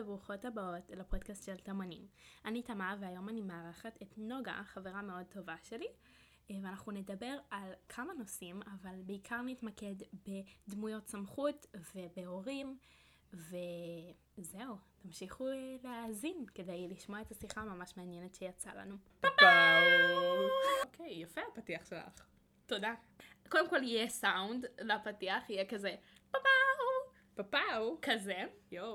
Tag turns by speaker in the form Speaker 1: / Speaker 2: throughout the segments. Speaker 1: וברוכות הבאות לפודקאסט של תמנים. אני תמה והיום אני מארחת את נוגה, חברה מאוד טובה שלי, אה, ואנחנו נדבר על כמה נושאים, אבל בעיקר נתמקד בדמויות סמכות ובהורים, וזהו, תמשיכו להאזין כדי לשמוע את השיחה הממש מעניינת שיצאה לנו.
Speaker 2: אוקיי, יפה הפתיח שלך.
Speaker 1: תודה. קודם כל יהיה סאונד לפתיח, יהיה כזה פאפאו,
Speaker 2: פפאו?
Speaker 1: כזה. אה,
Speaker 2: יואו.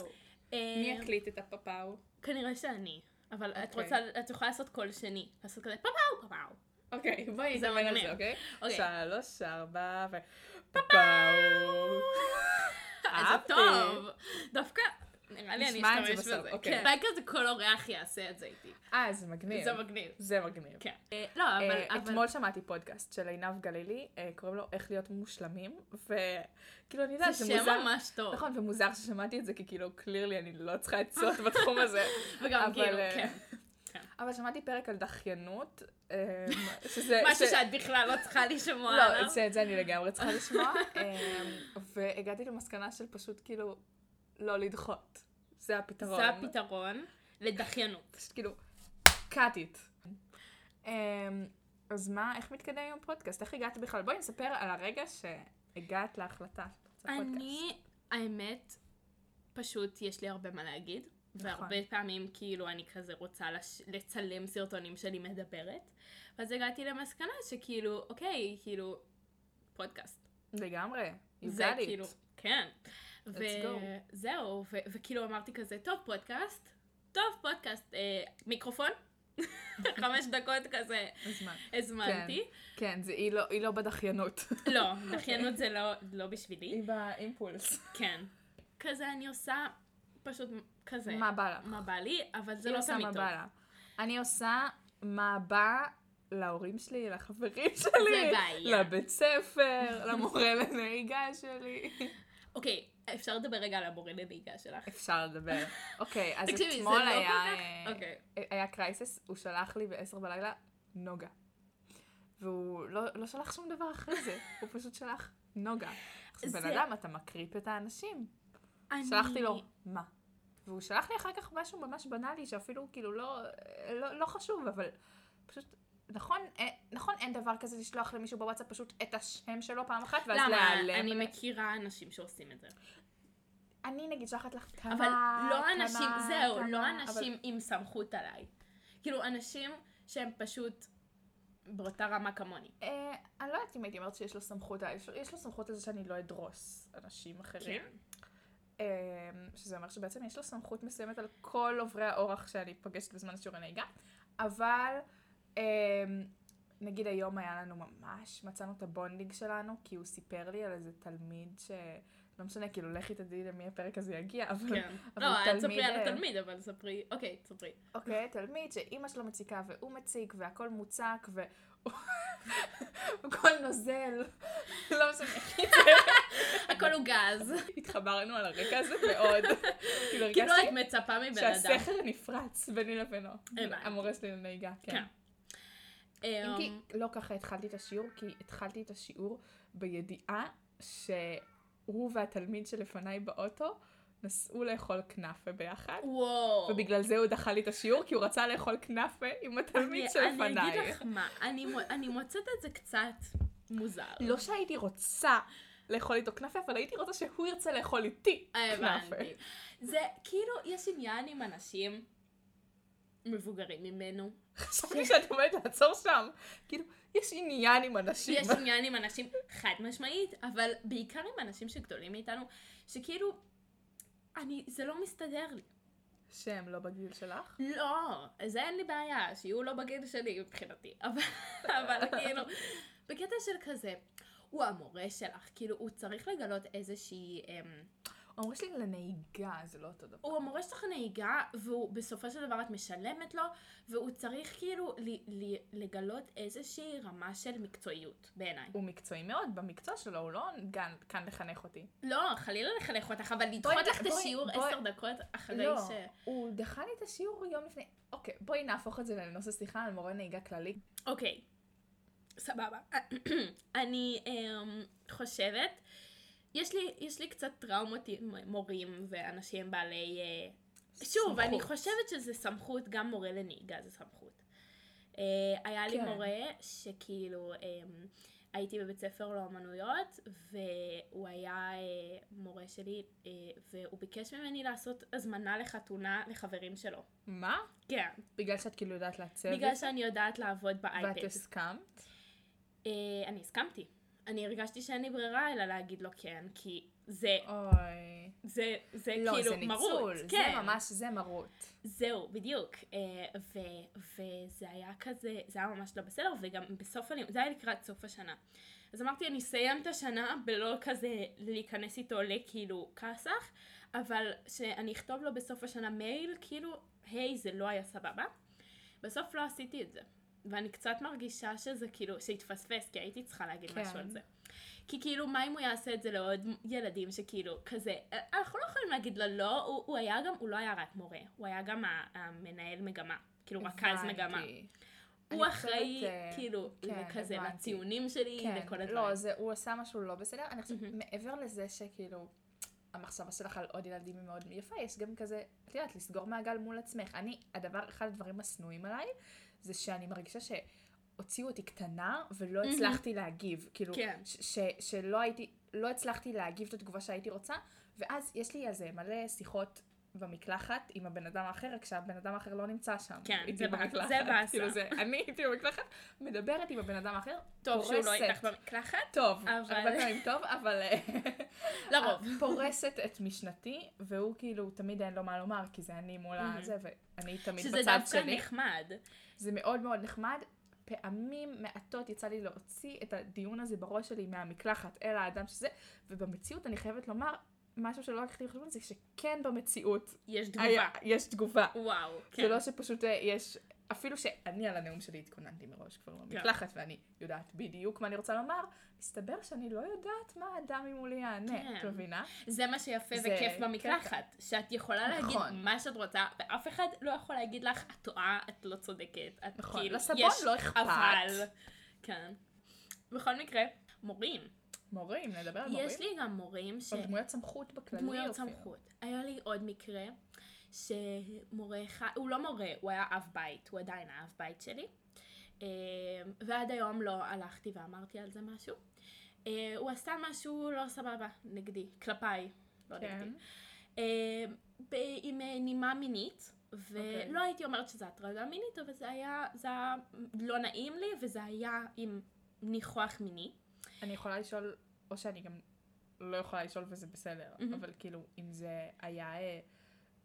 Speaker 2: מי
Speaker 1: מי
Speaker 2: יקליט את הפפאו?
Speaker 1: כנראה שאני. אבל את
Speaker 2: אוקיי.
Speaker 1: רוצה, את יכולה לעשות קול שני. לעשות כזה פאפאו, פאפאו.
Speaker 2: אוקיי, בואי
Speaker 1: זה
Speaker 2: נדבר על
Speaker 1: מגניב.
Speaker 2: זה, אוקיי?
Speaker 1: אוקיי.
Speaker 2: שלוש, ארבע, ו... פפאו.
Speaker 1: זה
Speaker 2: אהבתי.
Speaker 1: טוב. דווקא, נראה לי אני
Speaker 2: נשמע את זה
Speaker 1: אשתמש
Speaker 2: בסוף,
Speaker 1: בזה.
Speaker 2: אוקיי.
Speaker 1: כן. אולי כזה כל אורח יעשה את זה איתי.
Speaker 2: אה, זה מגניב.
Speaker 1: זה מגניב.
Speaker 2: זה מגניב.
Speaker 1: כן. אה, לא, אבל...
Speaker 2: אה,
Speaker 1: אבל-
Speaker 2: אתמול שמעתי פודקאסט של עינב גלילי, אה, קוראים לו איך להיות מושלמים, וכאילו אני יודעת,
Speaker 1: זה
Speaker 2: זה
Speaker 1: שם
Speaker 2: מוזר,
Speaker 1: ממש טוב.
Speaker 2: נכון, ומוזר ששמעתי את זה, כי כאילו, קלירלי אני לא צריכה עצות בתחום הזה.
Speaker 1: וגם
Speaker 2: אבל,
Speaker 1: כאילו,
Speaker 2: אה,
Speaker 1: כן.
Speaker 2: אבל שמעתי פרק על דחיינות, אה, שזה...
Speaker 1: משהו
Speaker 2: ש-
Speaker 1: שאת בכלל לא צריכה לשמוע
Speaker 2: לא,
Speaker 1: עליו.
Speaker 2: את זה- את זה אני לגמרי צריכה לשמוע. אמ, והגעתי למסקנה של פשוט כאילו לא לדחות. זה הפתרון.
Speaker 1: זה הפתרון לדחיינות.
Speaker 2: פשוט כאילו, cut it. אמ, אז מה, איך מתקדם עם הפודקאסט? איך הגעת בכלל? בואי נספר על הרגע שהגעת להחלטה. שאת רוצה פודקאסט.
Speaker 1: אני, האמת, פשוט יש לי הרבה מה להגיד.
Speaker 2: נכון.
Speaker 1: והרבה פעמים כאילו אני כזה רוצה לש... לצלם סרטונים שלי מדברת. ואז הגעתי למסקנה שכאילו, אוקיי, כאילו, פודקאסט.
Speaker 2: לגמרי. You
Speaker 1: זה
Speaker 2: got
Speaker 1: כאילו,
Speaker 2: it.
Speaker 1: כן.
Speaker 2: go.
Speaker 1: וזהו, ו- וכאילו אמרתי כזה, טוב פודקאסט, טוב פודקאסט, אה, מיקרופון, חמש דקות כזה
Speaker 2: אז מה?
Speaker 1: הזמנתי.
Speaker 2: כן, אוקיי. זה- היא לא- היא לא בדחיינות.
Speaker 1: לא, דחיינות זה לא, לא בשבילי,
Speaker 2: היא באימפולס.
Speaker 1: כן. כזה אני עושה פשוט כזה,
Speaker 2: מה בא לך?
Speaker 1: מה בא לי, אבל זה
Speaker 2: היא
Speaker 1: לא
Speaker 2: עושה
Speaker 1: תמיד
Speaker 2: מה
Speaker 1: טוב.
Speaker 2: בא לה. אני עושה מה בא להורים שלי, לחברים שלי,
Speaker 1: בעיה.
Speaker 2: לבית ספר, למורה לנהיגה שלי.
Speaker 1: אוקיי, אפשר לדבר רגע על המורה לנהיגה שלך?
Speaker 2: אפשר לדבר. אוקיי, אז
Speaker 1: תקשיבי, זה
Speaker 2: אתמול
Speaker 1: לא
Speaker 2: היה...
Speaker 1: כל כך-
Speaker 2: אה,
Speaker 1: אוקיי.
Speaker 2: היה קרייסס, הוא שלח לי ב-10 בלילה נוגה. והוא לא, לא שלח שום דבר אחרי זה, הוא פשוט שלח נוגה.
Speaker 1: זה-
Speaker 2: בן אדם, אתה מקריפ את האנשים.
Speaker 1: אני-
Speaker 2: שלחתי לו, מה? והוא שלח לי אחר כך משהו ממש בנאלי, שאפילו כאילו לא, לא, לא חשוב, אבל פשוט, נכון, אה, נכון אין דבר כזה לשלוח למישהו בוואטסאפ פשוט את השם שלו פעם אחת, ואז
Speaker 1: למה?
Speaker 2: להיעלם.
Speaker 1: אני
Speaker 2: אני,
Speaker 1: מכירה אנשים שעושים את זה.
Speaker 2: אני נגיד שלחת לך כמה,
Speaker 1: אבל לא
Speaker 2: כמה,
Speaker 1: אנשים, זהו,
Speaker 2: כמה,
Speaker 1: לא
Speaker 2: אבל-
Speaker 1: אנשים עם סמכות עליי. כאילו, אנשים שהם פשוט באותה רמה כמוני.
Speaker 2: אה, אני לא יודעת אם הייתי אומרת שיש לו סמכות, אה, יש, לו- יש לו סמכות לזה שאני לא אדרוס אנשים אחרים.
Speaker 1: כן.
Speaker 2: אה, שזה אומר שבעצם יש לו סמכות מסוימת על כל עוברי האורח שאני פוגשת בזמן שיעורי נהיגה, אבל אה, נגיד היום היה לנו ממש, מצאנו את הבונדינג שלנו, כי הוא סיפר לי על איזה תלמיד ש... לא משנה, כאילו, לכי תדעי למי הפרק הזה יגיע, אבל...
Speaker 1: כן.
Speaker 2: אבל
Speaker 1: לא, אל
Speaker 2: תלמיד,
Speaker 1: תספרי על
Speaker 2: אה,
Speaker 1: התלמיד, אבל ספרי, אוקיי, ספרי.
Speaker 2: אוקיי, תלמיד שאימא שלו מציקה והוא מציק והכל מוצק ו... הכל נוזל, לא משנה,
Speaker 1: הכל הוא גז.
Speaker 2: התחברנו על הרקע הזה מאוד. כאילו
Speaker 1: כאילו,
Speaker 2: הרגשתי
Speaker 1: את מצפה מבן אדם.
Speaker 2: שהסכר נפרץ ביני לבינו.
Speaker 1: הבנתי.
Speaker 2: המורה שלי לנהיגה,
Speaker 1: כן.
Speaker 2: כן. אם
Speaker 1: אמ,
Speaker 2: כי לא ככה התחלתי את השיעור, כי התחלתי את השיעור בידיעה שהוא והתלמיד שלפניי באוטו נסעו לאכול כנאפה ביחד.
Speaker 1: וואו.
Speaker 2: ובגלל זה הוא דחה לי את השיעור, כי הוא רצה לאכול כנאפה עם התלמיד
Speaker 1: אני-
Speaker 2: שלפניי.
Speaker 1: אני אגיד לך מה, אני מו- אני מוצאת את זה קצת מוזר.
Speaker 2: לא שהייתי רוצה לאכול איתו כנאפה, אבל הייתי רוצה שהוא ירצה לאכול איתי כנאפה.
Speaker 1: הבנתי. זה כאילו, יש עניין עם אנשים מבוגרים ממנו,
Speaker 2: חשבתי שאת עומדת לעצור שם. כאילו, יש עניין עם אנשים.
Speaker 1: יש עניין עם אנשים חד משמעית, אבל בעיקר עם אנשים שגדולים מאיתנו, שכאילו, אני, זה לא מסתדר לי.
Speaker 2: שהם לא בגיל שלך?
Speaker 1: לא, זה אין לי בעיה, שיהיו לא בגיל שלי מבחינתי, אבל, אבל כאילו, בקטע של כזה, הוא המורה שלך, כאילו, הוא צריך לגלות איזושהי... אמ,
Speaker 2: אומרים שלי לנהיגה, זה לא אותו דבר.
Speaker 1: הוא המורה שלך לנהיגה, והוא בסופו של דבר את משלמת לו, והוא צריך כאילו ל, ל, לגלות איזושהי רמה של מקצועיות, בעיניי.
Speaker 2: הוא מקצועי מאוד, במקצוע שלו הוא לא גן, כאן לחנך אותי.
Speaker 1: לא, חלילה לחנך אותך, אבל לדחות
Speaker 2: ת-
Speaker 1: לך את
Speaker 2: בואי-
Speaker 1: השיעור
Speaker 2: בואי-
Speaker 1: עשר דקות אחרי
Speaker 2: לא,
Speaker 1: ש...
Speaker 2: הוא דחה לי את השיעור יום לפני. אוקיי, בואי נהפוך את זה לנושא שיחה על מורה נהיגה כללי.
Speaker 1: אוקיי, סבבה. אני אמ, חושבת, יש לי, יש לי קצת טראומות עם מורים ואנשים בעלי אה, שוב, אני
Speaker 2: סמכות.
Speaker 1: חושבת שזה סמכות, גם מורה לנהיגה זה סמכות. אה, היה לי
Speaker 2: כן.
Speaker 1: מורה שכאילו, אמ, הייתי בבית ספר לאומנויות, והוא היה אה, מורה שלי, אה, והוא ביקש ממני לעשות הזמנה לחתונה לחברים שלו.
Speaker 2: מה?
Speaker 1: כן,
Speaker 2: בגלל שאת כאילו יודעת לעצב,
Speaker 1: בגלל שאני יודעת לעבוד
Speaker 2: ואת
Speaker 1: באייפד.
Speaker 2: הסכמת?
Speaker 1: אה, אני הסכמתי. אני הרגשתי שאין לי ברירה אלא להגיד לו כן, כי זה,
Speaker 2: אוי.
Speaker 1: זה, כן. זה
Speaker 2: לא,
Speaker 1: כאילו
Speaker 2: זה ניצול,
Speaker 1: מרות.
Speaker 2: זה
Speaker 1: כן.
Speaker 2: ממש, זה מרות.
Speaker 1: זהו, בדיוק. אה, ו, וזה היה כזה, זה היה ממש לא בסדר, וגם בסוף הלימוד, זה היה לקראת סוף השנה. אז אמרתי, אני אסיים את השנה בלא כזה להיכנס איתו לכאילו כסח, אבל שאני אכתוב לו בסוף השנה מייל, כאילו, היי, זה לא היה סבבה. בסוף לא עשיתי את זה. ואני קצת מרגישה שזה כאילו, שהתפספס, כי הייתי צריכה להגיד
Speaker 2: כן.
Speaker 1: משהו על זה. כי כאילו, מה אם הוא יעשה את זה לעוד ילדים שכאילו, כזה, אה, אנחנו לא יכולים להגיד לו לא, הוא, הוא היה גם, הוא לא היה רק מורה, הוא היה גם ה- המנהל מגמה, כאילו רכז
Speaker 2: הבנתי.
Speaker 1: מגמה.
Speaker 2: אני
Speaker 1: הוא
Speaker 2: חושבת,
Speaker 1: אחראי,
Speaker 2: אה,
Speaker 1: כאילו,
Speaker 2: כן,
Speaker 1: כזה,
Speaker 2: הבנתי.
Speaker 1: לציונים שלי,
Speaker 2: כן,
Speaker 1: לכל הדברים.
Speaker 2: לא, זה, הוא עשה משהו לא בסדר. אני חושבת,
Speaker 1: מהמם.
Speaker 2: מעבר לזה שכאילו, המחשבה שלך על עוד ילדים היא מאוד יפה, יש גם כזה, את יודעת, לסגור מעגל מול עצמך. אני, הדבר, אחד הדברים השנואים עליי, זה שאני מרגישה ש... הוציאו אותי קטנה ולא
Speaker 1: מהמם.
Speaker 2: הצלחתי להגיב, כאילו,
Speaker 1: כן.
Speaker 2: ש- ש- שלא הייתי, לא הצלחתי להגיב את התגובה שהייתי רוצה, ואז יש לי איזה מלא שיחות במקלחת עם הבן אדם האחר, כשהבן אדם האחר לא נמצא שם.
Speaker 1: כן,
Speaker 2: איתי
Speaker 1: זה בא-
Speaker 2: במקלחת.
Speaker 1: זה באסה.
Speaker 2: כאילו זה, אני הייתי במקלחת, מדברת עם הבן אדם האחר,
Speaker 1: טוב שהוא לא
Speaker 2: פורסת.
Speaker 1: איתך במקלחת,
Speaker 2: טוב,
Speaker 1: אבל-
Speaker 2: הרבה פעמים טוב, אבל
Speaker 1: לרוב.
Speaker 2: פורסת את משנתי, והוא כאילו תמיד אין לו מה לומר, כי זה אני מול
Speaker 1: Mhm.
Speaker 2: הזה, ואני תמיד
Speaker 1: שזה
Speaker 2: בצד
Speaker 1: דווקא
Speaker 2: אה, שלי.
Speaker 1: נחמד.
Speaker 2: זה מאוד מאוד נחמד. פעמים מעטות יצא לי להוציא את הדיון הזה בראש שלי מהמקלחת אל האדם שזה, ובמציאות אני חייבת לומר, משהו שלא לקחתי בחשבון זה שכן במציאות
Speaker 1: יש
Speaker 2: היה-
Speaker 1: תגובה.
Speaker 2: יש תגובה.
Speaker 1: וואו, כן.
Speaker 2: אה, זה לא שפשוט אה, יש, אפילו שאני על הנאום שלי התכוננתי מראש כבר במקלחת
Speaker 1: כן.
Speaker 2: ואני יודעת בדיוק מה אני רוצה לומר, מסתבר שאני לא יודעת מה האדם ממולי יענה, את
Speaker 1: כן.
Speaker 2: מבינה?
Speaker 1: זה מה שיפה
Speaker 2: זה-
Speaker 1: וכיף
Speaker 2: כן,
Speaker 1: במקלחת, שאת יכולה להגיד
Speaker 2: נכון.
Speaker 1: מה שאת רוצה, ואף אחד לא יכול להגיד לך, את טועה, את לא צודקת, את
Speaker 2: נכון,
Speaker 1: כאילו,
Speaker 2: לסבון
Speaker 1: יש
Speaker 2: לא אכפת.
Speaker 1: אבל, כן. בכל מקרה, מורים.
Speaker 2: מורים, נדבר על אה, מורים.
Speaker 1: יש לי גם מורים ש...
Speaker 2: אבל דמויות סמכות בכללי.
Speaker 1: דמויות
Speaker 2: אפילו.
Speaker 1: סמכות. היה לי עוד מקרה שמורה אחד, הוא לא מורה, הוא היה אב בית, הוא עדיין האב בית שלי. אה, ועד היום לא הלכתי ואמרתי על זה משהו. אה, הוא עשה משהו לא סבבה, נגדי, כלפיי, לא
Speaker 2: כן.
Speaker 1: נגדי. אה, ב- עם אה, נימה מינית, ולא
Speaker 2: אוקיי.
Speaker 1: הייתי אומרת שזה הטרדה מינית, אבל זה היה, זה היה לא נעים לי, וזה היה עם ניחוח מיני.
Speaker 2: אני יכולה לשאול, או שאני גם לא יכולה לשאול וזה בסדר,
Speaker 1: מהמם.
Speaker 2: אבל כאילו, אם זה היה אה,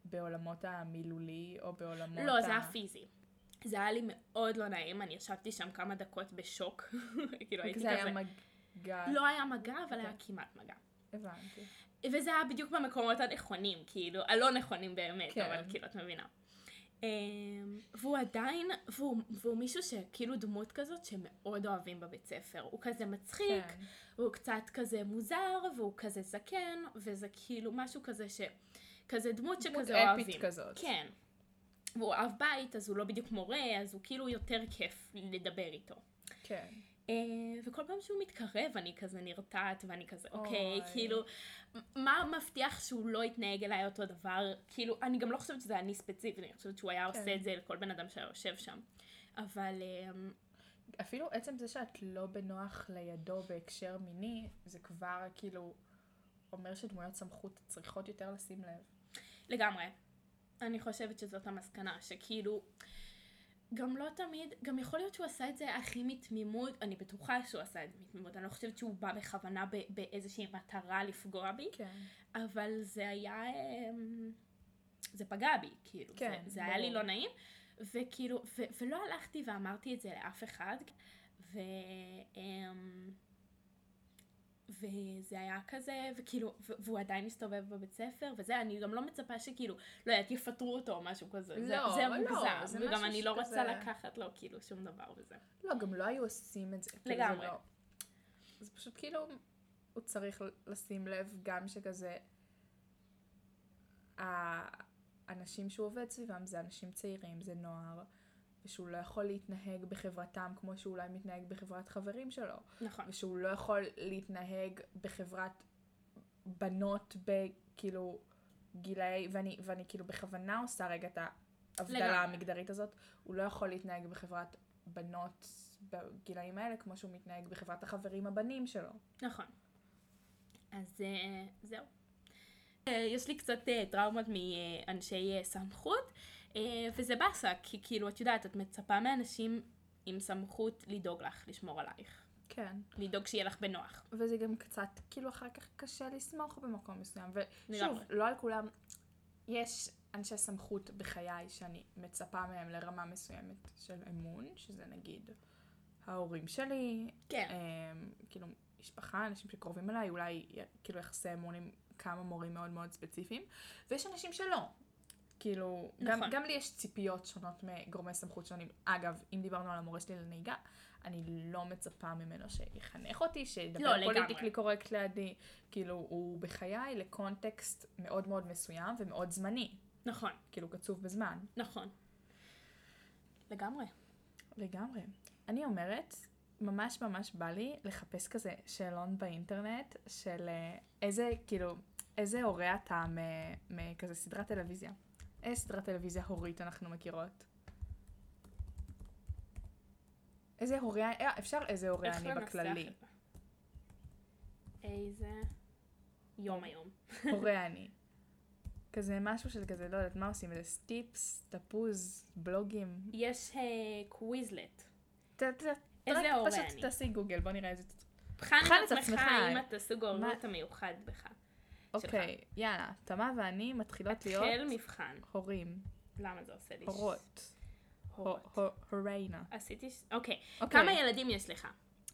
Speaker 2: בעולמות המילולי או בעולמות ה...
Speaker 1: לא, זה היה פיזי. זה היה לי מאוד לא נעים, אני ישבתי שם כמה דקות בשוק. כאילו הייתי
Speaker 2: זה היה
Speaker 1: כזה...
Speaker 2: מגע...
Speaker 1: לא היה מגע, אבל היה
Speaker 2: אוקיי.
Speaker 1: כמעט מגע.
Speaker 2: הבנתי.
Speaker 1: וזה היה בדיוק במקומות הנכונים, כאילו, הלא נכונים באמת,
Speaker 2: כן.
Speaker 1: אבל כאילו, את מבינה. אמ, והוא עדיין, והוא, והוא מישהו שכאילו דמות כזאת שמאוד אוהבים בבית ספר. הוא כזה מצחיק,
Speaker 2: כן.
Speaker 1: והוא קצת כזה מוזר, והוא כזה זקן, וזה כאילו משהו כזה ש... כזה דמות
Speaker 2: דמות
Speaker 1: שכזה אוהבים.
Speaker 2: אפית כזאת.
Speaker 1: כן. והוא אב בית, אז הוא לא בדיוק מורה, אז הוא כאילו יותר כיף לדבר איתו.
Speaker 2: כן.
Speaker 1: אה, וכל פעם שהוא מתקרב, אני כזה נרתעת, ואני כזה, אוקיי,
Speaker 2: אוי.
Speaker 1: כאילו, מ- מה מבטיח שהוא לא יתנהג אליי אותו דבר? כאילו, אני גם לא חושבת שזה אני ספציפית, אני חושבת שהוא היה
Speaker 2: כן.
Speaker 1: עושה את זה לכל בן אדם שהיה יושב שם. אבל אה,
Speaker 2: אפילו עצם זה שאת לא בנוח לידו בהקשר מיני, זה כבר כאילו אומר שדמויות סמכות צריכות יותר לשים לב.
Speaker 1: לגמרי. אני חושבת שזאת המסקנה, שכאילו, גם לא תמיד, גם יכול להיות שהוא עשה את זה הכי מתמימות, אני בטוחה שהוא עשה את זה מתמימות, אני לא חושבת שהוא בא בכוונה ב- באיזושהי מטרה לפגוע בי,
Speaker 2: כן.
Speaker 1: אבל זה היה, אמ, זה פגע בי, כאילו,
Speaker 2: כן,
Speaker 1: זה, זה היה לי
Speaker 2: ברור.
Speaker 1: לא נעים, וכאילו, ו, ולא הלכתי ואמרתי את זה לאף אחד, ו... אמ, וזה היה כזה, וכאילו, ו- והוא עדיין מסתובב בבית ספר, וזה, אני גם לא מצפה שכאילו, לא יודעת, יפטרו אותו או משהו כזה. זה,
Speaker 2: לא,
Speaker 1: זה
Speaker 2: לא,
Speaker 1: מוגזם,
Speaker 2: זה
Speaker 1: וגם
Speaker 2: משהו
Speaker 1: אני לא רוצה
Speaker 2: שכזה-
Speaker 1: לקחת לו כאילו שום דבר וזה.
Speaker 2: לא, גם לא היו עושים את זה. כאילו, זה
Speaker 1: לגמרי.
Speaker 2: לא- זה פשוט כאילו, הוא צריך לשים לב גם שכזה, האנשים שהוא עובד סביבם זה אנשים צעירים, זה נוער, ושהוא לא יכול להתנהג בחברתם כמו שהוא אולי מתנהג בחברת חברים שלו,
Speaker 1: נכון.
Speaker 2: ושהוא לא יכול להתנהג בחברת בנות בכאילו כאילו, גילאי, ואני, ואני כאילו בכוונה עושה רגע את
Speaker 1: לגמרי.
Speaker 2: ההבדלה המגדרית הזאת, הוא לא יכול להתנהג בחברת בנות בגילאים האלה, כמו שהוא מתנהג בחברת החברים הבנים שלו.
Speaker 1: נכון. אז אה, זהו. אה, יש לי קצת אה, טראומות מאנשי אה, סמכות, אה, וזה באסה, כי כאילו, את יודעת, את מצפה מאנשים עם סמכות לדאוג לך, לשמור עלייך.
Speaker 2: כן.
Speaker 1: לדאוג שיהיה לך בנוח.
Speaker 2: וזה גם קצת, כאילו אחר כך קשה לסמוך במקום מסוים. ושוב,
Speaker 1: לגמרי.
Speaker 2: לא על כולם, יש אנשי סמכות בחיי שאני מצפה מהם לרמה מסוימת של אמון, שזה נגיד ההורים שלי,
Speaker 1: כן.
Speaker 2: אמ, כאילו משפחה, אנשים שקרובים אליי, אולי י- כאילו יחסי אמון עם כמה מורים מאוד מאוד ספציפיים, ויש אנשים שלא. כאילו, גם,
Speaker 1: נכון.
Speaker 2: גם לי יש ציפיות שונות מגורמי סמכות שונים. אגב, אם דיברנו על המורה שלי לנהיגה, אני לא מצפה ממנו שיחנך אותי,
Speaker 1: לא,
Speaker 2: שידבר
Speaker 1: לגמרי.
Speaker 2: פוליטיקלי קורקט לידי. כאילו, הוא בחיי לקונטקסט מאוד מאוד מסוים ומאוד זמני.
Speaker 1: נכון,
Speaker 2: כאילו, קצוב בזמן.
Speaker 1: נכון. לגמרי.
Speaker 2: לגמרי. אני אומרת, ממש ממש בא לי לחפש כזה שאלון באינטרנט של אה, איזה, כאילו, איזה הורה אתה מ- מכזה סדרת טלוויזיה. איזה סדרת טלוויזיה הורית אנחנו מכירות? איזה הורה, אה, אפשר איזה הורה
Speaker 1: איך לא
Speaker 2: אני
Speaker 1: לנסח
Speaker 2: בכללי.
Speaker 1: את זה? איזה יום היום.
Speaker 2: הורה אני. כזה משהו של כזה, לא יודעת מה עושים, איזה סטיפס, תפוז, בלוגים.
Speaker 1: יש אה, קוויזלט.
Speaker 2: ת- ת-
Speaker 1: איזה
Speaker 2: רק
Speaker 1: הורה
Speaker 2: פשוט
Speaker 1: אני?
Speaker 2: תעשי גוגל, בוא נראה איזה...
Speaker 1: בחן
Speaker 2: בחן
Speaker 1: את
Speaker 2: את
Speaker 1: עצמך
Speaker 2: עצמך.
Speaker 1: אם אתה סוג ההורות
Speaker 2: מה-
Speaker 1: המיוחד בך.
Speaker 2: אוקיי, יאללה, תמה ואני מתחילות להיות...
Speaker 1: התחל מבחן.
Speaker 2: הורים,
Speaker 1: למה זה עושה לי? ש-
Speaker 2: הורות,
Speaker 1: הורות.
Speaker 2: הו- הו- הוריינה.
Speaker 1: עשיתי... ש- אוקיי.
Speaker 2: אוקיי.
Speaker 1: כמה ילדים יש לך?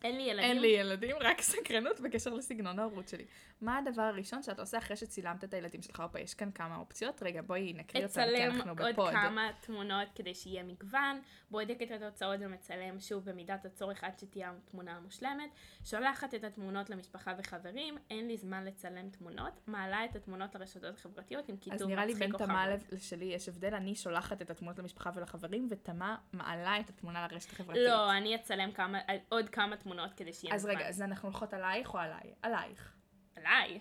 Speaker 1: אין לי ילדים.
Speaker 2: אין לי ילדים, רק סקרנות בקשר לסגנון ההורות שלי. מה הדבר הראשון שאת עושה אחרי שצילמת את הילדים שלך? הופה, יש כאן כמה אופציות. רגע, בואי נקריא אותן, כי אנחנו
Speaker 1: אצלם עוד
Speaker 2: בפוד.
Speaker 1: כמה תמונות כדי שיהיה מגוון, בודק את התוצאות ומצלם שוב במידת הצורך עד שתהיה התמונה המושלמת, שולחת את התמונות למשפחה וחברים, אין לי זמן לצלם תמונות, מעלה את התמונות לרשתות החברתיות עם
Speaker 2: אז
Speaker 1: כיתוב
Speaker 2: נראה לי
Speaker 1: מצחיק
Speaker 2: בין
Speaker 1: או
Speaker 2: תמה
Speaker 1: חמוד.
Speaker 2: לב- שלי יש הבדל, אני שולחת את התמונות למשפחה ולחברים, ותמה מעלה את התמונה לרשת החברתית.
Speaker 1: לא, אני אצלם כמה, עוד כמה תמונות כדי שיהיה
Speaker 2: אז
Speaker 1: מגוון.
Speaker 2: רגע, אז אנחנו הולכות עלייך או עליי? עלייך.
Speaker 1: עליי.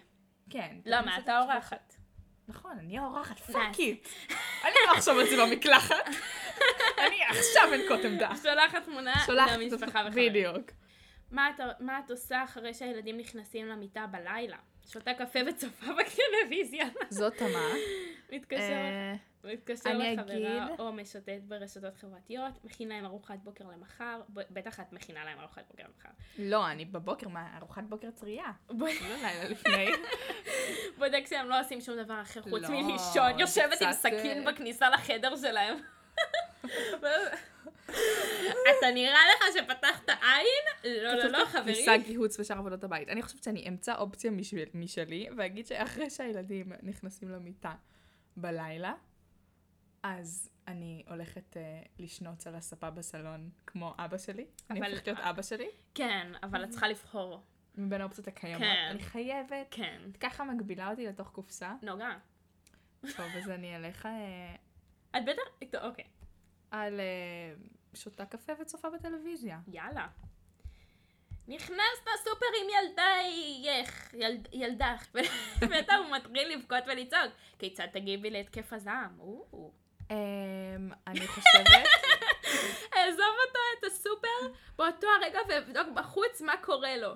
Speaker 2: כן.
Speaker 1: למה,
Speaker 2: תכניסי את
Speaker 1: לא, אתה אורחת.
Speaker 2: נכון, אני האורחת,
Speaker 1: Nice.
Speaker 2: פאק איט. אני לא עכשיו אצלי במקלחת. אני עכשיו אנקוט עמדה.
Speaker 1: שולחת תמונה
Speaker 2: שולחת
Speaker 1: למשפחה וחברים.
Speaker 2: בדיוק.
Speaker 1: מה את, מה את עושה אחרי שהילדים נכנסים למיטה בלילה? שותה קפה וצופה בטלוויזיה.
Speaker 2: זאת תמה.
Speaker 1: מתקשר
Speaker 2: אה,
Speaker 1: מתקשר
Speaker 2: אני
Speaker 1: לחברה
Speaker 2: אגיד-
Speaker 1: או משוטט ברשתות חברתיות, מכין להם ארוחת בוקר למחר, ב- בטח את מכינה להם ארוחת בוקר למחר.
Speaker 2: לא, אני בבוקר, מה, ארוחת בוקר טריה. לא לילה לפני.
Speaker 1: בודק שהם לא עושים שום דבר אחר חוץ
Speaker 2: לא,
Speaker 1: מלישון,
Speaker 2: זה
Speaker 1: יושבת עם
Speaker 2: קצת,
Speaker 1: סכין
Speaker 2: אה,
Speaker 1: בכניסה לחדר שלהם. אתה נראה לך שפתחת עין? לא, לא, לא,
Speaker 2: כניסה,
Speaker 1: חברים.
Speaker 2: גיהוץ ושאר עבודות הבית. אני חושבת שאני אמצא אופציה משל- משלי, ואגיד שאחרי שהילדים נכנסים למיטה בלילה, אז אני הולכת אה, לשנוץ על הספה בסלון, כמו אבא שלי. אני
Speaker 1: אבל-
Speaker 2: הופכת להיות אבא שלי,
Speaker 1: כן, אבל את צריכה לבחור.
Speaker 2: מבין האופציות הקיימות.
Speaker 1: כן.
Speaker 2: אני חייבת.
Speaker 1: כן.
Speaker 2: את ככה מגבילה אותי לתוך קופסה.
Speaker 1: נוגה.
Speaker 2: טוב, אז אני אלך אה,
Speaker 1: את בטח... טוב, אוקיי.
Speaker 2: על אה, שותה קפה וצופה בטלוויזיה.
Speaker 1: יאללה. נכנס לסופר עם ילדה, איך, ילד, ילדה, ואתה הוא מתחיל לבכות ולצעוק, כיצד תגיבי להתקף הזעם? או,
Speaker 2: אמ, אני חושבת,
Speaker 1: עזוב אותו את הסופר באותו הרגע ואבדוק בחוץ מה קורה לו.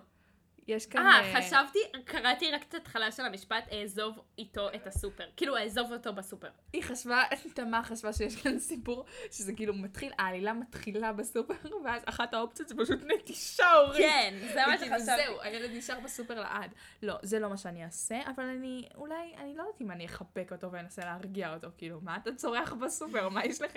Speaker 2: יש כאן...
Speaker 1: אה, חשבתי, קראתי רק את ההתחלה של המשפט, אעזוב איתו את הסופר. כאילו, אעזוב אותו בסופר.
Speaker 2: היא חשבה, תמה חשבה שיש כאן סיפור שזה כאילו מתחיל, העלילה מתחילה בסופר, ואז אחת האופציות זה פשוט נטישה הורית.
Speaker 1: כן, זה מה שחשבתי.
Speaker 2: זהו, הילד נשאר בסופר לעד. לא, זה לא מה שאני אעשה, אבל אני, אולי, אני לא יודעת אם אני אחבק אותו ואנסה להרגיע אותו, כאילו, מה אתה צורח בסופר, מה יש לך?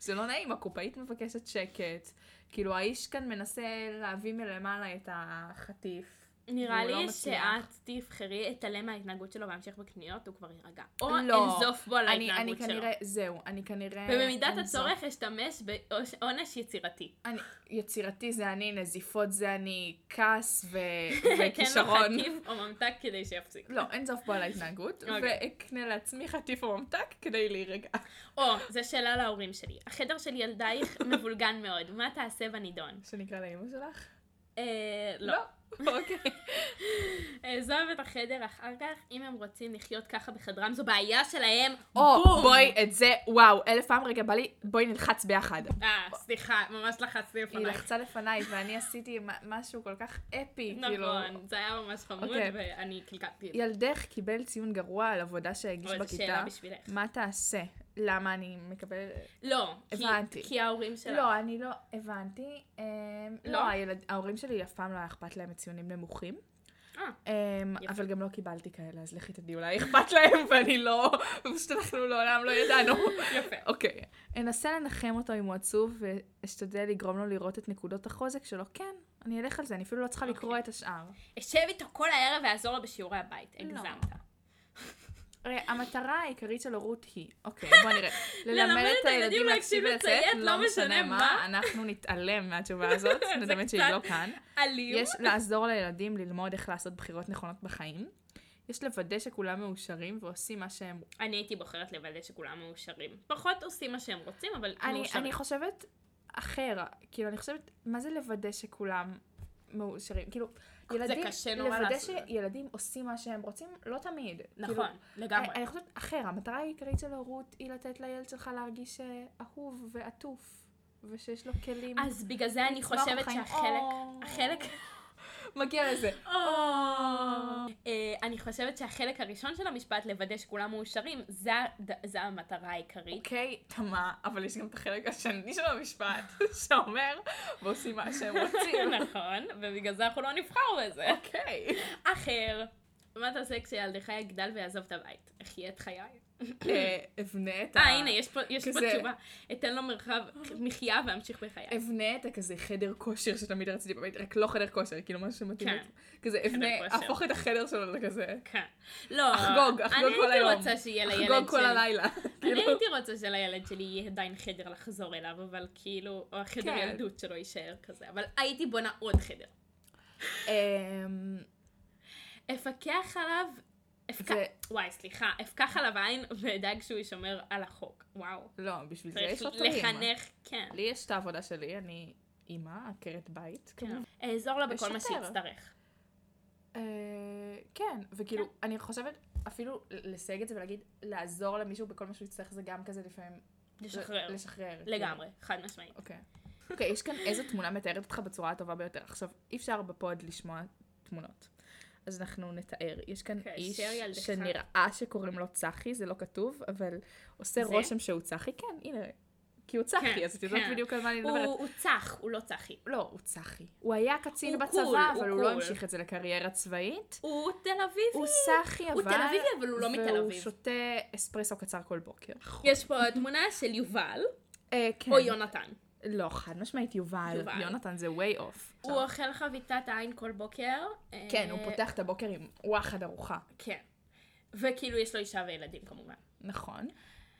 Speaker 2: זה לא נעים, הקופאית מבקשת שקט, כאילו, האיש כאן מנסה להביא מלמעלה את החטיף.
Speaker 1: נראה
Speaker 2: והוא לא
Speaker 1: לי
Speaker 2: מצליח.
Speaker 1: שאת תבחרי, תתעלם מההתנהגות שלו ואמשיך בקניות, הוא כבר יירגע. או
Speaker 2: לא.
Speaker 1: אנזוף בו על
Speaker 2: אני, אני
Speaker 1: ההתנהגות שלו.
Speaker 2: כנראה, זהו, אני כנראה...
Speaker 1: ובמידת
Speaker 2: אה, אין
Speaker 1: הצורך אשתמש בעונש יצירתי.
Speaker 2: אני, יצירתי זה אני, נזיפות זה אני, כעס ו...
Speaker 1: כן
Speaker 2: וכישרון.
Speaker 1: מחטיף או ממתק כדי שיפסיק.
Speaker 2: לא, אין סוף פה על ההתנהגות,
Speaker 1: אוקיי.
Speaker 2: ואקנה לעצמי חטיף או ממתק כדי להירגע.
Speaker 1: או, זו שאלה להורים שלי. החדר של ילדייך מבולגן מאוד, מה תעשה בנידון?
Speaker 2: שנקרא לאמא שלך?
Speaker 1: אה, לא.
Speaker 2: אוקיי.
Speaker 1: אה, לעזוב את החדר אחר כך, אם הם רוצים לחיות ככה בחדרם, זו בעיה שלהם.
Speaker 2: או,
Speaker 1: בום!
Speaker 2: בואי את זה, וואו, אלף פעם, רגע, בא לי, בואי נלחץ ביחד.
Speaker 1: אה, סליחה, ממש לחצתי
Speaker 2: היא
Speaker 1: לפנייך.
Speaker 2: לחצה לפניי, ואני עשיתי מ- משהו כל כך אפי, כאילו.
Speaker 1: נכון, זה היה ממש חמוד,
Speaker 2: אוקיי.
Speaker 1: ואני קלקלתי את זה.
Speaker 2: ילדך קיבל ציון גרוע על עבודה שהגיש
Speaker 1: אבל זו שאלה
Speaker 2: בכיתה.
Speaker 1: בשבילך.
Speaker 2: מה תעשה? למה אני מקבל...
Speaker 1: לא, כי-
Speaker 2: הבנתי.
Speaker 1: כי ההורים שלה.
Speaker 2: לא, אני לא הבנתי. אמ,
Speaker 1: לא?
Speaker 2: לא, הילד- ההורים שלי אף פעם לא היה אכפת להם מציונים נמוכים.
Speaker 1: אה,
Speaker 2: אמ,
Speaker 1: יפה.
Speaker 2: אבל גם לא קיבלתי כאלה, אז לכי תדעי, אולי אכפת להם, ואני לא... פשוט אנחנו לעולם לא ידענו.
Speaker 1: יפה.
Speaker 2: אוקיי. אנסה לנחם אותו אם הוא עצוב, ואשתדל לגרום לו לראות את נקודות החוזק שלו. כן, אני אלך על זה, אני אפילו לא צריכה לקרוא
Speaker 1: אוקיי.
Speaker 2: את השאר.
Speaker 1: אשב איתו כל הערב ואעזור לו בשיעורי הבית.
Speaker 2: לא.
Speaker 1: הגזמת.
Speaker 2: הרי המטרה העיקרית של הורות היא, אוקיי, בוא נראה.
Speaker 1: ללמד את הילדים להקשיב לציית, לא משנה מה.
Speaker 2: אנחנו נתעלם מהתשובה הזאת,
Speaker 1: זה
Speaker 2: נדמה שהיא
Speaker 1: קצת-
Speaker 2: לא כאן.
Speaker 1: אלים.
Speaker 2: יש לעזור לילדים ללמוד איך לעשות בחירות נכונות בחיים. יש לוודא שכולם מאושרים ועושים מה שהם...
Speaker 1: אני הייתי בוחרת לוודא שכולם מאושרים. פחות עושים מה שהם רוצים, אבל
Speaker 2: אני,
Speaker 1: מאושרים.
Speaker 2: אני חושבת אחר, כאילו, אני חושבת, מה זה לוודא שכולם מאושרים? כאילו, ילדים...
Speaker 1: קשה נורא
Speaker 2: לוודא
Speaker 1: לעשות את זה.
Speaker 2: שילדים עושים מה שהם רוצים, לא תמיד. כאילו,
Speaker 1: נכון, לגמרי.
Speaker 2: אני, אני חושבת אחר, המטרה העיקרית של הורות היא לתת לילד שלך להרגיש אה, אהוב ועטוף, ושיש לו כלים.
Speaker 1: אה, אז בגלל זה אני
Speaker 2: לצמוח
Speaker 1: חושבת
Speaker 2: בחיים.
Speaker 1: שהחלק...
Speaker 2: או.
Speaker 1: החלק...
Speaker 2: מגיע לזה.
Speaker 1: אה, אני חושבת שהחלק הראשון של המשפט, לוודא שכולם מאושרים, זה הד- זה המטרה העיקרית.
Speaker 2: אוקיי, תמה, אבל יש גם את החלק השני של המשפט, שאומר, ועושים מה שהם רוצים.
Speaker 1: נכון, ובגלל זה אנחנו לא נבחר בזה.
Speaker 2: אוקיי.
Speaker 1: אה, אחר, מה תעשה כשילדך יגדל ויעזוב את הבית? אחיה את חיי.
Speaker 2: אה, אבנה את ה...
Speaker 1: אה, הנה, יש פה יש פה
Speaker 2: כזה-
Speaker 1: תשובה. אתן לו מרחב מחיה ואמשיך בחיי.
Speaker 2: אבנה את הכזה חדר כושר שתמיד רציתי בבית, רק לא חדר כושר, כאילו משהו שמתאים.
Speaker 1: כן.
Speaker 2: לי. כזה אבנה,
Speaker 1: כושר.
Speaker 2: אהפוך את החדר שלו לכזה.
Speaker 1: כן. לא,
Speaker 2: אחגוג, אחגוג כל
Speaker 1: אני
Speaker 2: היום.
Speaker 1: הייתי רוצה שיהיה לילד שלי.
Speaker 2: חגוג כל הלילה.
Speaker 1: אני
Speaker 2: כאילו.
Speaker 1: הייתי רוצה שלילד שלי יהיה עדיין חדר לחזור אליו, אבל כאילו, או החדר
Speaker 2: כן.
Speaker 1: ילדות שלו יישאר כזה, אבל הייתי בונה עוד חדר.
Speaker 2: אמ,
Speaker 1: אפקח עליו, אפק-
Speaker 2: זה-
Speaker 1: וואי, סליחה, אפקח עליו עין ואדאג שהוא יישמר על החוק. וואו.
Speaker 2: לא, בשביל זה
Speaker 1: צריך
Speaker 2: יש אה. אותו אימא.
Speaker 1: לחנך, כן.
Speaker 2: לי יש את העבודה שלי, אני אימא, עקרת בית, כמובן.
Speaker 1: כן. אעזור לו בכל מה
Speaker 2: ושוטר.
Speaker 1: שיצטרך.
Speaker 2: אה, כן, וכאילו, אני חושבת אפילו לסייג את זה ולהגיד, לעזור למישהו בכל מה שהוא יצטרך, זה גם כזה לפעמים...
Speaker 1: לשחרר.
Speaker 2: לשחרר. כאילו.
Speaker 1: לגמרי, חד משמעית.
Speaker 2: אוקיי. אוקיי, יש כאן איזו תמונה מתארת אותך בצורה הטובה ביותר. עכשיו, אי אפשר בפוד לשמוע תמונות. אז אנחנו נתאר. יש כאן
Speaker 1: כאשר
Speaker 2: איש
Speaker 1: אוקיי, ילדך-
Speaker 2: שנראה שקוראים לו צחי, זה לא כתוב, אבל עושה
Speaker 1: זה?
Speaker 2: רושם שהוא צחי. כן, הנה. כי הוא צחי, אז את יודעת
Speaker 1: כן.
Speaker 2: בדיוק על מה אני
Speaker 1: הוא-
Speaker 2: מדברת.
Speaker 1: הוא צח, הוא לא צחי.
Speaker 2: לא, הוא צחי. הוא היה קצין
Speaker 1: הוא
Speaker 2: בצבא,
Speaker 1: קול, הוא
Speaker 2: אבל הוא לא
Speaker 1: קול.
Speaker 2: המשיך את זה לקריירה צבאית.
Speaker 1: הוא תל אביבי.
Speaker 2: הוא סאחי, אבל...
Speaker 1: הוא תל אביבי, אבל הוא לא מתל
Speaker 2: והוא
Speaker 1: אביב.
Speaker 2: שותה אספרסו קצר כל בוקר.
Speaker 1: יש פה תמונה של יובל,
Speaker 2: אה, כן.
Speaker 1: או יונתן.
Speaker 2: לא, חד משמעית, יובל.
Speaker 1: יובל.
Speaker 2: יונתן זה way off.
Speaker 1: הוא אוכל חביתת עין כל בוקר.
Speaker 2: כן, הוא
Speaker 1: אה,
Speaker 2: פותח את הבוקר עם וואחד ארוחה.
Speaker 1: כן. וכאילו יש לו אישה וילדים כמובן.
Speaker 2: נכון.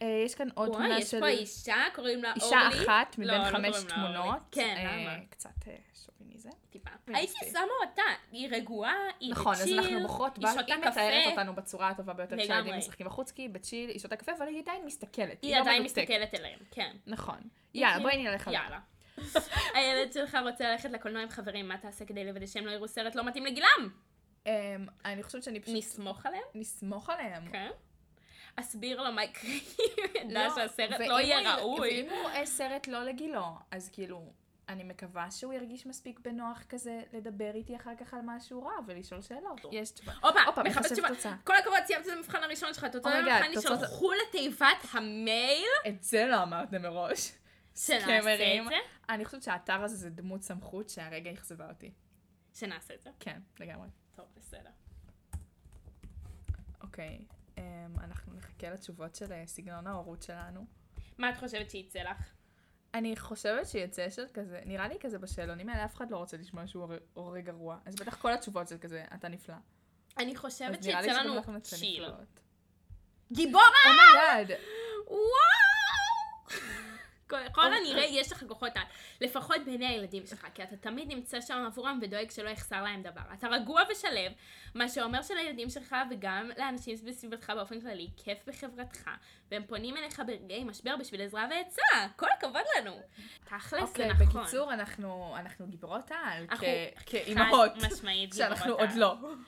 Speaker 2: אה, יש כאן עוד
Speaker 1: וואי,
Speaker 2: תמונה
Speaker 1: יש
Speaker 2: של
Speaker 1: פה אישה, קוראים לה אורלי.
Speaker 2: אישה אחת
Speaker 1: לא,
Speaker 2: מבין
Speaker 1: לא
Speaker 2: חמש
Speaker 1: קוראים לה אורלי.
Speaker 2: תמונות.
Speaker 1: כן,
Speaker 2: אה,
Speaker 1: למה?
Speaker 2: קצת אה, שוביניזם.
Speaker 1: טיפה.
Speaker 2: מן
Speaker 1: הייתי
Speaker 2: הסתם.
Speaker 1: שמה אותה, היא רגועה, היא בצ'יל,
Speaker 2: נכון, אז אנחנו בוחרות בה,
Speaker 1: היא
Speaker 2: היא
Speaker 1: שותה
Speaker 2: מתארת
Speaker 1: קפה,
Speaker 2: אותנו בצורה הטובה ביותר כשהילדים
Speaker 1: לגמרי.
Speaker 2: משחקים בחוץ, כי היא בצ'יל, היא שותה קפה, אבל היא עדיין מסתכלת.
Speaker 1: היא
Speaker 2: לא
Speaker 1: עדיין
Speaker 2: מנותקת.
Speaker 1: מסתכלת אליהם, כן.
Speaker 2: נכון. יאללה, בואי נלך על זה.
Speaker 1: יאללה. הילד שלך רוצה ללכת לקולנוע עם חברים, מה תעשה כדי לוודא שהם לא יראו סרט לא מתאים לגילם?
Speaker 2: אמ, אני חושבת שאני פשוט...
Speaker 1: נסמוך עליהם?
Speaker 2: נסמוך עליהם.
Speaker 1: כן. אסביר לו מה יקרה אם הוא ידע
Speaker 2: לא,
Speaker 1: שהסרט
Speaker 2: ואם
Speaker 1: לא
Speaker 2: הוא-
Speaker 1: יהיה ראוי.
Speaker 2: ואם הוא רואה סרט לא לגילו, אז כאילו, אני מקווה שהוא ירגיש מספיק בנוח כזה לדבר איתי אחר כך על מה שהוא ראה ולשאול שאלות. יש תשובה.
Speaker 1: הופה,
Speaker 2: הופה,
Speaker 1: מחפש
Speaker 2: מחשב
Speaker 1: תשובה.
Speaker 2: תוצאה.
Speaker 1: כל הכבוד, סיימת את המבחן הראשון שלך, תוצאות
Speaker 2: אומייגאד,
Speaker 1: המבחן
Speaker 2: תוצאות-
Speaker 1: נשלחו לתיבת המייל
Speaker 2: את זה לא אמרתם מראש.
Speaker 1: שנעשה
Speaker 2: סקמרים.
Speaker 1: את זה.
Speaker 2: אני חושבת שהאתר הזה זה דמות סמכות שהרגע אכזבה אותי.
Speaker 1: שנעשה את זה.
Speaker 2: כן, לגמרי.
Speaker 1: טוב, בסדר.
Speaker 2: אוקיי, אמ, אנחנו נחכה לתשובות של אה, סגנון ההורות שלנו.
Speaker 1: מה את חושבת שיצא לך?
Speaker 2: אני חושבת שיצא של כזה, נראה לי כזה בשאלונים האלה אף אחד לא רוצה לשמוע שהוא הורה- הורה גרוע. אז בטח כל התשובות של כזה, אתה נפלא.
Speaker 1: אני חושבת
Speaker 2: אז נראה לי
Speaker 1: שיצא
Speaker 2: שגם
Speaker 1: לנו
Speaker 2: אנחנו נצא
Speaker 1: צ'יל.
Speaker 2: נפלאות. Oh
Speaker 1: גיבורה! Ah!
Speaker 2: אומייגאד.
Speaker 1: וואו! כל- כל
Speaker 2: אוי.
Speaker 1: הנראה יש לך כוחות על, לפחות בעיני הילדים שלך, כי אתה תמיד נמצא שם עבורם ודואג שלא יחסר להם דבר. אתה רגוע ושלב, מה שאומר שלילדים שלך וגם לאנשים בסביבתך באופן כללי, כיף בחברתך, והם פונים אליך ברגעי משבר בשביל עזרה ועצה. כל הכבוד לנו. תכלס, זה
Speaker 2: אוקיי,
Speaker 1: נכון.
Speaker 2: בקיצור, אנחנו אנחנו גיבורות על,
Speaker 1: אנחנו
Speaker 2: כ- כאימהות,
Speaker 1: חד משמעית
Speaker 2: שאנחנו
Speaker 1: גיבורות
Speaker 2: עוד
Speaker 1: על.
Speaker 2: לא.
Speaker 1: נכון.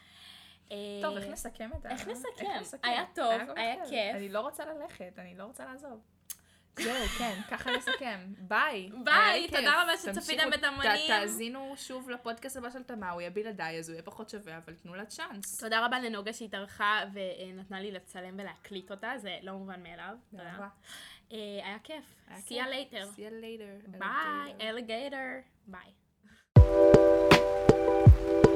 Speaker 1: אה,
Speaker 2: טוב, איך נסכם את ה...
Speaker 1: איך נסכם? היה טוב,
Speaker 2: כל כך
Speaker 1: היה
Speaker 2: טוב.
Speaker 1: כיף.
Speaker 2: אני לא רוצה ללכת, אני לא רוצה לעזוב. זהו, כן, ככה נסכם. ביי.
Speaker 1: ביי,
Speaker 2: היה לי
Speaker 1: תודה
Speaker 2: כיף.
Speaker 1: רבה שצפיתם
Speaker 2: תמשיכו-
Speaker 1: בתמרים.
Speaker 2: ת- תאזינו שוב לפודקאסט הבא של תמה, הוא יהיה בלעדיי, אז הוא יהיה פחות שווה, אבל תנו לה צ'אנס.
Speaker 1: תודה רבה לנוגה שהתארחה ונתנה לי לצלם ולהקליט אותה, זה לא מובן מאליו. תודה. אה, היה כיף.
Speaker 2: היה
Speaker 1: See you
Speaker 2: כיף.
Speaker 1: later.
Speaker 2: See you later.
Speaker 1: ביי,
Speaker 2: alligator.
Speaker 1: alligator. ביי.